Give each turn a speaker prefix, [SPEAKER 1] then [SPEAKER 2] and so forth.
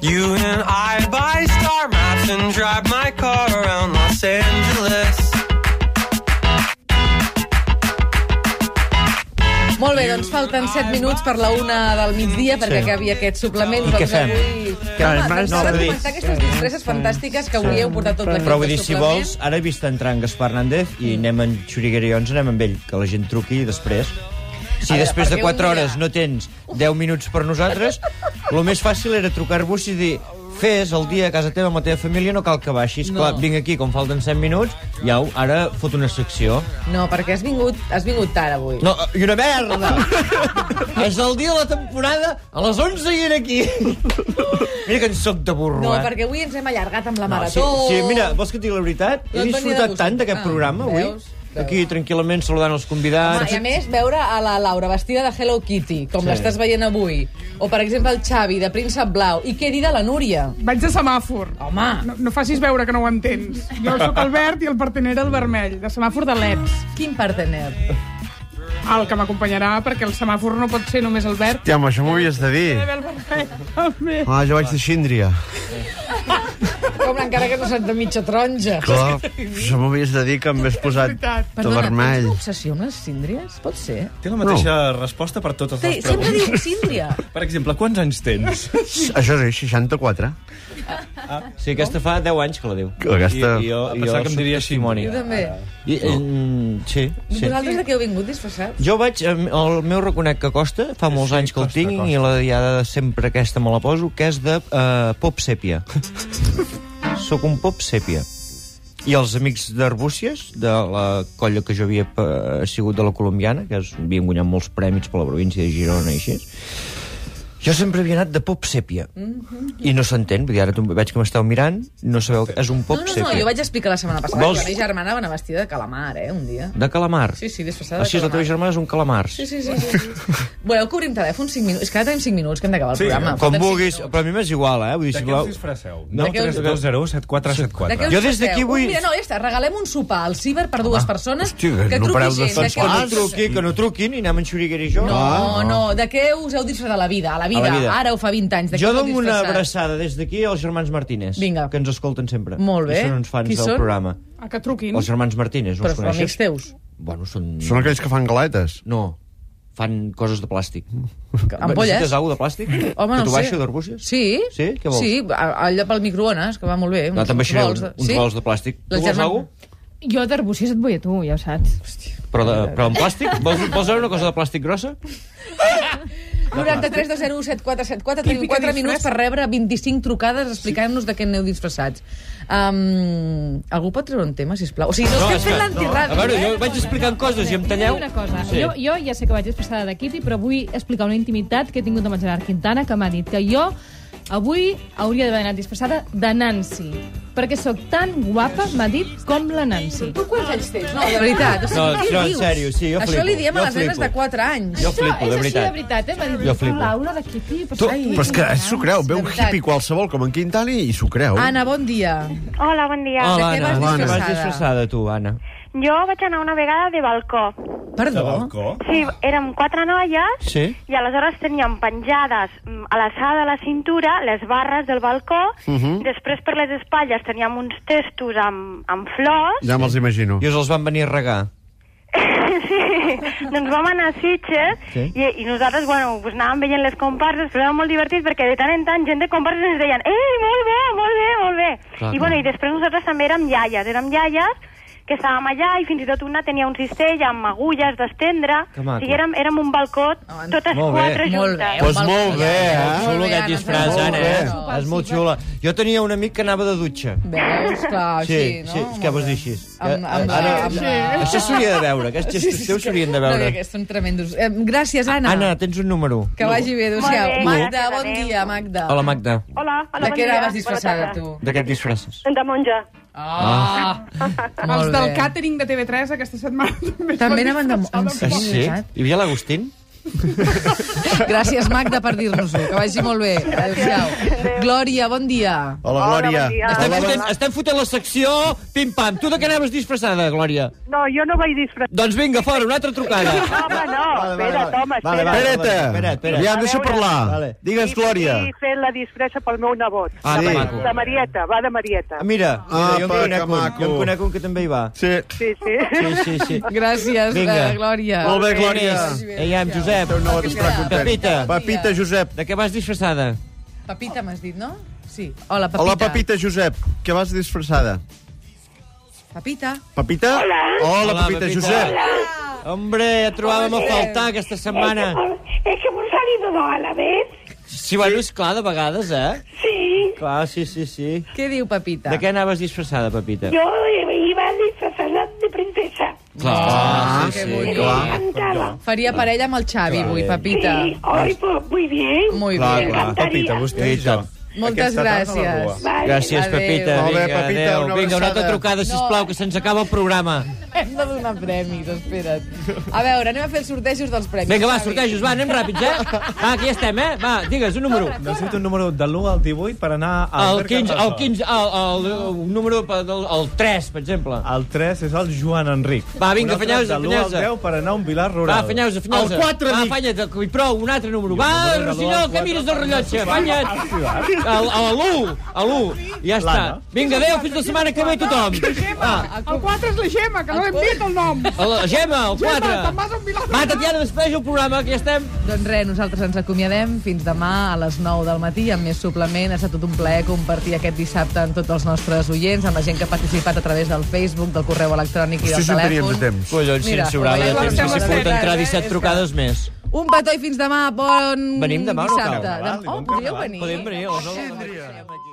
[SPEAKER 1] You and I buy star maps and drive my car around Los Angeles.
[SPEAKER 2] Molt bé, doncs falten 7 minuts per la una del migdia perquè
[SPEAKER 3] Ah, Sí.
[SPEAKER 2] acabi aquest suplement.
[SPEAKER 3] I
[SPEAKER 2] doncs
[SPEAKER 3] què fem?
[SPEAKER 2] Avui...
[SPEAKER 3] Que
[SPEAKER 2] Home,
[SPEAKER 3] no,
[SPEAKER 2] doncs
[SPEAKER 3] no,
[SPEAKER 2] s'ha de
[SPEAKER 3] vull dir-
[SPEAKER 2] comentar aquestes disfresses fantàstiques que avui heu portat tot l'equip
[SPEAKER 3] Però vull
[SPEAKER 2] de
[SPEAKER 3] dir, si
[SPEAKER 2] suplement.
[SPEAKER 3] vols, ara he vist entrar en Gaspar Hernández i anem en Xuriguerions, anem amb ell, que la gent truqui i després... Si
[SPEAKER 2] A veure,
[SPEAKER 3] després de
[SPEAKER 2] perquè un
[SPEAKER 3] 4
[SPEAKER 2] dia-
[SPEAKER 3] hores no tens 10 minuts per nosaltres, el més fàcil era trucar-vos i dir fes el dia a casa teva amb la teva família, no cal que baixis.
[SPEAKER 2] No.
[SPEAKER 3] Clar, vinc aquí, com falten 100 minuts, i au, ara fot una secció.
[SPEAKER 2] No, perquè has vingut, has vingut tard avui.
[SPEAKER 3] No, i una merda! És el dia de la temporada, a les 11 i era aquí. Mira que en soc de burro,
[SPEAKER 2] No,
[SPEAKER 3] eh?
[SPEAKER 2] perquè avui ens hem allargat amb la
[SPEAKER 3] No,
[SPEAKER 2] marató.
[SPEAKER 3] Ah, Sí, sí, mira, vols que et digui la veritat?
[SPEAKER 2] No et
[SPEAKER 3] He
[SPEAKER 2] venia de
[SPEAKER 3] disfrutat
[SPEAKER 2] gust.
[SPEAKER 3] tant d'aquest
[SPEAKER 2] Ah,
[SPEAKER 3] programa avui.
[SPEAKER 2] veus? Veus.
[SPEAKER 3] Aquí, tranquil·lament, saludant els convidats.
[SPEAKER 2] Home, i a més, veure a la Laura vestida de Hello Kitty, com
[SPEAKER 3] Sí.
[SPEAKER 2] l'estàs veient avui, o, per exemple, el Xavi, de Príncep Blau, i què dir de la Núria?
[SPEAKER 4] Vaig de semàfor.
[SPEAKER 2] Home,
[SPEAKER 4] No, no facis veure que no ho entens. Jo sóc el verd i el partener el vermell, de semàfor de leds.
[SPEAKER 2] quin partener.
[SPEAKER 4] El que m'acompanyarà, perquè el semàfor no pot ser només el verd.
[SPEAKER 5] Hòstia, home, això m'ho havies de dir.
[SPEAKER 4] Ha d'haver el vermell, també.
[SPEAKER 5] Ah, jo vaig de síndria.
[SPEAKER 2] Com encara que no se't de mitja taronja.
[SPEAKER 5] Clar, això m'ho havies de dir que em vés posat de
[SPEAKER 2] Perdona, tens
[SPEAKER 5] vermell.
[SPEAKER 2] una obsessió amb les síndries? Pot ser?
[SPEAKER 6] Té la mateixa no. resposta per totes
[SPEAKER 2] Té,
[SPEAKER 6] les
[SPEAKER 2] sempre
[SPEAKER 6] preguntes.
[SPEAKER 2] diu síndria.
[SPEAKER 6] Per exemple, quants anys tens?
[SPEAKER 5] Això és 64.
[SPEAKER 3] Sí, aquesta fa 10 anys que la diu.
[SPEAKER 5] Aquesta-
[SPEAKER 3] I, i jo,
[SPEAKER 6] A
[SPEAKER 3] i
[SPEAKER 6] pensar
[SPEAKER 3] jo
[SPEAKER 6] que em
[SPEAKER 3] soc
[SPEAKER 6] diria
[SPEAKER 3] testimoni.
[SPEAKER 2] Jo també.
[SPEAKER 3] I, mm, sí,
[SPEAKER 2] Sí.
[SPEAKER 3] sí.
[SPEAKER 2] Vosaltres de què heu vingut disfressats?
[SPEAKER 3] Jo vaig, em- el meu reconec que costa, fa molts anys que el
[SPEAKER 6] costa,
[SPEAKER 3] tinc,
[SPEAKER 6] costa.
[SPEAKER 3] i la diada sempre aquesta me la poso, que és de uh, pop sèpia. Soc un pop sèpia. I els amics d'Arbúcies, de la colla que jo havia eh, sigut de la colombiana, que es, havien guanyat molts prèmits per la província de Girona i així, jo sempre havia anat de pop sèpia.
[SPEAKER 2] Mhm.
[SPEAKER 3] I no s'entén, vull dir, ara tu veig que m'esteu mirant, no sabeu que és un pop
[SPEAKER 2] No, no, no,
[SPEAKER 3] sèpia.
[SPEAKER 2] jo vaig explicar la setmana passada
[SPEAKER 3] Vols-
[SPEAKER 2] que la meva germana va anar vestida de calamar, eh, un dia.
[SPEAKER 3] De calamar.
[SPEAKER 2] Sí, sí, disfressada de
[SPEAKER 3] Així Ah, és, la
[SPEAKER 2] calamar.
[SPEAKER 3] teva germana és un calamar.
[SPEAKER 2] Sí, sí, sí. sí, sí. Voleu que obrim telèfon 5 minuts? És que ara tenim 5 minuts, que hem d'acabar el
[SPEAKER 6] Sí,
[SPEAKER 2] programa.
[SPEAKER 3] Com
[SPEAKER 2] Falten cinc
[SPEAKER 3] vulguis,
[SPEAKER 2] minuts.
[SPEAKER 3] però a mi m'és igual, eh? Vull dir,
[SPEAKER 6] De
[SPEAKER 3] si
[SPEAKER 6] què us
[SPEAKER 3] voleu...
[SPEAKER 6] disfresseu?
[SPEAKER 3] No,
[SPEAKER 6] No,
[SPEAKER 2] què us-
[SPEAKER 6] 320 7474.
[SPEAKER 2] De què us
[SPEAKER 3] Jo des d'aquí
[SPEAKER 2] penseu?
[SPEAKER 3] vull-
[SPEAKER 2] Mira, no, ja està, regalem un sopar al ciber per dues persones.
[SPEAKER 5] hosti, que no
[SPEAKER 2] truqui
[SPEAKER 5] pareu de
[SPEAKER 2] gent,
[SPEAKER 5] fer
[SPEAKER 2] què
[SPEAKER 3] Que eh, no
[SPEAKER 2] us-
[SPEAKER 3] truqui, que no truquin i anem en xuriguer i jo.
[SPEAKER 2] No, no, de què us heu disfressat a la vida? A la vida,
[SPEAKER 3] Ah, A la vida.
[SPEAKER 2] ara ho fa 20 anys. De què
[SPEAKER 3] Jo
[SPEAKER 2] us heu
[SPEAKER 3] dono una
[SPEAKER 2] disfressat?
[SPEAKER 3] abraçada des d'aquí als germans Martínez,
[SPEAKER 2] Vinga.
[SPEAKER 3] que ens escolten sempre.
[SPEAKER 2] Molt bé.
[SPEAKER 3] I són uns fans
[SPEAKER 2] Qui
[SPEAKER 3] del
[SPEAKER 2] són?
[SPEAKER 3] programa.
[SPEAKER 4] A que truquin.
[SPEAKER 3] Els germans Martínez, no
[SPEAKER 2] Però
[SPEAKER 3] els
[SPEAKER 2] són amics
[SPEAKER 3] coneixes?
[SPEAKER 2] teus.
[SPEAKER 3] Bueno, són...
[SPEAKER 5] Són aquells que fan galetes.
[SPEAKER 3] No, fan coses de plàstic.
[SPEAKER 2] Ampolles?
[SPEAKER 3] Necessites alguna de plàstic?
[SPEAKER 2] eh? Home,
[SPEAKER 3] que
[SPEAKER 2] no
[SPEAKER 3] t'ho
[SPEAKER 2] ho sé.
[SPEAKER 3] baixo d'arbúcies?
[SPEAKER 2] Sí.
[SPEAKER 3] Sí? Què vols?
[SPEAKER 2] Sí, a- allò pel microones, que va molt bé.
[SPEAKER 3] No, te'n baixaré
[SPEAKER 2] rols
[SPEAKER 3] uns, uns
[SPEAKER 2] sí?
[SPEAKER 3] rols de plàstic.
[SPEAKER 2] La
[SPEAKER 3] tu vols
[SPEAKER 2] germana-
[SPEAKER 3] alguna cosa?
[SPEAKER 7] Jo d'arbúcies et vull a tu, ja ho saps.
[SPEAKER 3] Però, de, però en plàstic? Vols, vols veure una cosa de plàstic grossa?
[SPEAKER 2] 93 201 7474 tenim
[SPEAKER 4] Típica
[SPEAKER 2] 4
[SPEAKER 4] disfressa.
[SPEAKER 2] minuts per rebre 25 trucades explicant-nos de què aneu disfressats. Um, algú pot treure un tema, sisplau? O sigui, no, estem
[SPEAKER 3] és
[SPEAKER 2] fent
[SPEAKER 3] que-
[SPEAKER 2] l'antirràdio.
[SPEAKER 3] A veure, jo
[SPEAKER 2] eh?
[SPEAKER 3] vaig explicant coses i em talleu.
[SPEAKER 7] Una cosa,
[SPEAKER 3] Sí.
[SPEAKER 7] sí. jo, jo ja sé que vaig expressada de Kitty, però vull explicar una intimitat que he tingut amb el Gerard Quintana, que m'ha dit que jo avui hauria d'haver anat disfressada de Nancy, perquè sóc tan guapa, m'ha dit, com la Nancy.
[SPEAKER 2] Tu quants anys tens? No, de veritat. O sigui,
[SPEAKER 3] No,
[SPEAKER 2] què
[SPEAKER 3] no, en
[SPEAKER 2] dius?
[SPEAKER 3] sèrio, sí, jo
[SPEAKER 2] Això
[SPEAKER 3] flipo,
[SPEAKER 2] li diem a
[SPEAKER 3] jo
[SPEAKER 2] les nenes
[SPEAKER 3] flipo.
[SPEAKER 2] de 4 anys.
[SPEAKER 3] Jo flipo, de
[SPEAKER 7] Això és així de
[SPEAKER 3] veritat.
[SPEAKER 7] veritat, eh? M'ha dit,
[SPEAKER 3] Jo flipo.
[SPEAKER 7] Laura de Kitty, però...
[SPEAKER 5] Tu,
[SPEAKER 7] Ai,
[SPEAKER 5] però és que ell s'ho creu, veu un
[SPEAKER 2] veritat. Ah,
[SPEAKER 5] hippie qualsevol com en Quintani i s'ho creu.
[SPEAKER 2] Anna, bon dia.
[SPEAKER 8] Hola, bon dia.
[SPEAKER 3] Ah.
[SPEAKER 2] Hola. què vas
[SPEAKER 3] Oh, Anna,
[SPEAKER 2] disfressada?
[SPEAKER 3] vas disfressada, tu, Anna?
[SPEAKER 8] Jo vaig anar una vegada de balcó.
[SPEAKER 6] De
[SPEAKER 2] Perdó.
[SPEAKER 6] balcó?
[SPEAKER 8] Sí, érem quatre noies
[SPEAKER 3] Sí.
[SPEAKER 8] i aleshores teníem penjades mm, a l'alçada de la cintura les barres del balcó, uh -huh. després per les espatlles teníem uns testos amb, amb flors.
[SPEAKER 5] Ja me'ls imagino.
[SPEAKER 3] I us els van venir a regar.
[SPEAKER 8] Sí, doncs vam anar a Sitges
[SPEAKER 3] Sí.
[SPEAKER 8] sí. i, i nosaltres, bueno, pues anàvem veient les comparses, però era molt divertit perquè de tant en tant gent de comparses ens deien «Ei, molt bé, molt bé, molt bé!»
[SPEAKER 3] Clar,
[SPEAKER 8] I, bueno,
[SPEAKER 3] clar.
[SPEAKER 8] I després nosaltres també érem iaies, érem iaies que estàvem allà i fins i tot una tenia un cistell amb agulles d'estendre.
[SPEAKER 3] Que maco.
[SPEAKER 8] I érem, érem un balcó,
[SPEAKER 2] Ah,
[SPEAKER 8] totes
[SPEAKER 3] molt bé.
[SPEAKER 8] quatre
[SPEAKER 2] Molt bé.
[SPEAKER 8] juntes.
[SPEAKER 5] Doncs molt bé, eh?
[SPEAKER 3] Xulo
[SPEAKER 2] Molt bé,
[SPEAKER 3] aquest
[SPEAKER 2] Anna,
[SPEAKER 3] disfress,
[SPEAKER 2] molt
[SPEAKER 3] Anna,
[SPEAKER 5] bé.
[SPEAKER 3] eh? És molt xula. Jo tenia un amic que anava de dutxa.
[SPEAKER 2] Veus, clar,
[SPEAKER 3] Sí,
[SPEAKER 2] així, Ah, no?
[SPEAKER 3] sí, és que
[SPEAKER 2] Molt
[SPEAKER 3] vols
[SPEAKER 2] bé.
[SPEAKER 3] dir així.
[SPEAKER 2] Amb, amb,
[SPEAKER 3] Ara,
[SPEAKER 2] la- amb, la-
[SPEAKER 3] Això s'hauria de veure, aquests gestos teus s'haurien de
[SPEAKER 2] No,
[SPEAKER 3] veure.
[SPEAKER 2] que són tremendos. Eh, gràcies, Anna.
[SPEAKER 3] Anna, tens un número.
[SPEAKER 2] Que vagi bé, adéu-siau.
[SPEAKER 8] Molt bé,
[SPEAKER 2] Magda,
[SPEAKER 8] gràcies,
[SPEAKER 2] bon
[SPEAKER 8] adéu.
[SPEAKER 2] dia, Magda.
[SPEAKER 3] Hola, Magda.
[SPEAKER 8] Hola, hola,
[SPEAKER 2] de
[SPEAKER 8] bon
[SPEAKER 2] què
[SPEAKER 8] dia.
[SPEAKER 2] anaves
[SPEAKER 8] Bona
[SPEAKER 2] disfressada,
[SPEAKER 8] tarda.
[SPEAKER 2] tu?
[SPEAKER 3] D'aquest disfresses.
[SPEAKER 8] De monja.
[SPEAKER 2] Ah!
[SPEAKER 4] Els
[SPEAKER 2] Molt
[SPEAKER 4] del
[SPEAKER 2] bé.
[SPEAKER 4] càtering de TV3 aquesta setmana també, es
[SPEAKER 2] També
[SPEAKER 4] van
[SPEAKER 2] anaven de...
[SPEAKER 4] disfressar
[SPEAKER 2] En
[SPEAKER 3] Ah,
[SPEAKER 2] sèrio,
[SPEAKER 3] sí?
[SPEAKER 2] veritat?
[SPEAKER 3] Hi havia l'Agustín?
[SPEAKER 2] Gràcies, Magda, per dir-nos-ho. Que vagi molt bé. Adéu-siau. Glòria, bon dia.
[SPEAKER 5] Hola, Glòria.
[SPEAKER 8] bon dia.
[SPEAKER 2] Ah,
[SPEAKER 3] Estem fotent, estem fotent la secció pim-pam. Tu de què anaves disfressada, Glòria?
[SPEAKER 8] No, jo no vaig disfressar.
[SPEAKER 3] Doncs vinga, fora, una altra trucada.
[SPEAKER 8] Home, no, espera,
[SPEAKER 9] espera't, home,
[SPEAKER 5] Vale,
[SPEAKER 9] espera't.
[SPEAKER 5] vale,
[SPEAKER 9] Espera't.
[SPEAKER 5] Espera,
[SPEAKER 3] espera, espera.
[SPEAKER 5] Aviam, deixa
[SPEAKER 9] A veure.
[SPEAKER 5] parlar.
[SPEAKER 3] Vale.
[SPEAKER 5] Digues, Glòria.
[SPEAKER 9] Estic fent la disfressa pel meu nebot.
[SPEAKER 5] Ah,
[SPEAKER 9] de,
[SPEAKER 5] sí.
[SPEAKER 9] Mari- de Marieta, va de Marieta.
[SPEAKER 3] Ah, Mira, mira jo, en
[SPEAKER 5] Apa,
[SPEAKER 3] conec
[SPEAKER 5] que
[SPEAKER 3] un,
[SPEAKER 5] maco.
[SPEAKER 3] jo en conec un que també hi va.
[SPEAKER 5] Sí.
[SPEAKER 9] Sí, sí.
[SPEAKER 3] Sí, sí, sí.
[SPEAKER 2] Gràcies,
[SPEAKER 3] Vinga.
[SPEAKER 2] eh, Glòria.
[SPEAKER 5] Molt bé, Glòria.
[SPEAKER 3] Eiam, Josep.
[SPEAKER 5] Teu nebot estarà content.
[SPEAKER 3] Pepita.
[SPEAKER 5] Pepita, Josep.
[SPEAKER 3] De què vas disfressada?
[SPEAKER 2] Pepita m'has dit, no? Sí. Hola, Pepita.
[SPEAKER 5] Hola, Pepita, Josep. Que vas disfressada?
[SPEAKER 2] Pepita.
[SPEAKER 5] Pepita? Hola. Hola,
[SPEAKER 3] Hola,
[SPEAKER 5] Pepita,
[SPEAKER 3] Pepita.
[SPEAKER 5] Josep.
[SPEAKER 3] Hombre, et trobàvem a faltar aquesta setmana.
[SPEAKER 10] Es que hemos salido dos a la vez.
[SPEAKER 3] Sí, bueno, esclar, de vegades, eh?
[SPEAKER 10] Sí,
[SPEAKER 3] Clar, sí, sí, sí.
[SPEAKER 2] Què diu Pepita?
[SPEAKER 3] De què anaves disfressada, Pepita?
[SPEAKER 10] yo eh, iba disfrazada de princesa.
[SPEAKER 3] Clar,
[SPEAKER 5] Ah,
[SPEAKER 3] sí,
[SPEAKER 2] que
[SPEAKER 3] sí.
[SPEAKER 2] bonic.
[SPEAKER 10] Encantada.
[SPEAKER 2] Faria parella amb el Xavi avui, Pepita.
[SPEAKER 10] Sí, hoy pues muy bien.
[SPEAKER 2] Muy
[SPEAKER 5] Clar,
[SPEAKER 2] bien.
[SPEAKER 5] clar.
[SPEAKER 6] Pepita, vostè i jo.
[SPEAKER 2] Moltes
[SPEAKER 6] Aquesta tarda a la
[SPEAKER 2] gràcies.
[SPEAKER 6] rua.
[SPEAKER 10] Vale.
[SPEAKER 3] Gràcies,
[SPEAKER 2] Adéu.
[SPEAKER 3] Pepita.
[SPEAKER 5] Molt bé,
[SPEAKER 3] Vinga,
[SPEAKER 5] Pepita,
[SPEAKER 3] adéu.
[SPEAKER 5] una
[SPEAKER 3] Vinga, una altra
[SPEAKER 5] abraçada.
[SPEAKER 3] trucada, sisplau, que se'ns acaba el programa.
[SPEAKER 2] Hem de donar premis, espera't. A veure, anem a fer els sortejos dels premis.
[SPEAKER 3] Vinga, va,
[SPEAKER 2] Xavi.
[SPEAKER 3] sortejos, va, anem ràpids, eh? Va, aquí estem, eh? Va, digues, un número.
[SPEAKER 6] Necessito un número de l'1 al 18 per anar al
[SPEAKER 3] El 15, el 15, el, el, el número, pe- del, el 3, per exemple.
[SPEAKER 6] El 3 és el Joan Enric.
[SPEAKER 3] Va, vinga,
[SPEAKER 6] Un altre
[SPEAKER 3] afanyeu-se,
[SPEAKER 6] De l'1 al
[SPEAKER 3] afanyeu-se.
[SPEAKER 6] 10 per anar a un vilar
[SPEAKER 3] Va,
[SPEAKER 6] rural.
[SPEAKER 3] afanyeu-se, afanyeu-se.
[SPEAKER 5] El quatre,
[SPEAKER 3] Va,
[SPEAKER 5] dic.
[SPEAKER 3] afanya't, i prou, un altre número. Va,
[SPEAKER 6] número de l'u
[SPEAKER 3] Rossinyol,
[SPEAKER 6] al
[SPEAKER 3] que
[SPEAKER 6] quatre
[SPEAKER 3] mires el rellotge, afanya't. El- el- L'1, l'1, ja està.
[SPEAKER 6] L'Anna.
[SPEAKER 3] Vinga, adéu, fins la setmana que ve tothom.
[SPEAKER 4] Gemma, el 4 és la Gemma, que no l'hem dit el nom.
[SPEAKER 3] A La Gemma, el
[SPEAKER 4] Gemma,
[SPEAKER 3] 4.
[SPEAKER 4] te'n vas a un vilar.
[SPEAKER 3] Va, Tatiana, despedeix el programa, que ja estem.
[SPEAKER 2] Doncs res, nosaltres ens acomiadem fins demà a les 9 del matí amb més suplement. Ha estat tot un plaer compartir aquest dissabte amb tots els nostres oients, amb la gent que ha participat a través del Facebook, del correu electrònic i del
[SPEAKER 5] Hosti, si en teníem
[SPEAKER 2] telèfon.
[SPEAKER 5] de temps.
[SPEAKER 3] Collons,
[SPEAKER 2] Mira,
[SPEAKER 3] si ens sobrava de
[SPEAKER 2] la
[SPEAKER 3] temps,
[SPEAKER 2] Gemma
[SPEAKER 3] si
[SPEAKER 2] de
[SPEAKER 3] pogut
[SPEAKER 2] Terrassa,
[SPEAKER 3] entrar
[SPEAKER 2] eh?
[SPEAKER 3] 17
[SPEAKER 2] És que-
[SPEAKER 3] trucades més.
[SPEAKER 2] Un petó i fins demà. Bon
[SPEAKER 3] Venim demà o no cal?
[SPEAKER 2] dissabte.
[SPEAKER 6] Carnaval,
[SPEAKER 2] Oh,
[SPEAKER 6] diuen
[SPEAKER 2] podríeu
[SPEAKER 6] carnaval.
[SPEAKER 2] venir?
[SPEAKER 3] Podem venir o no?
[SPEAKER 2] Vindria.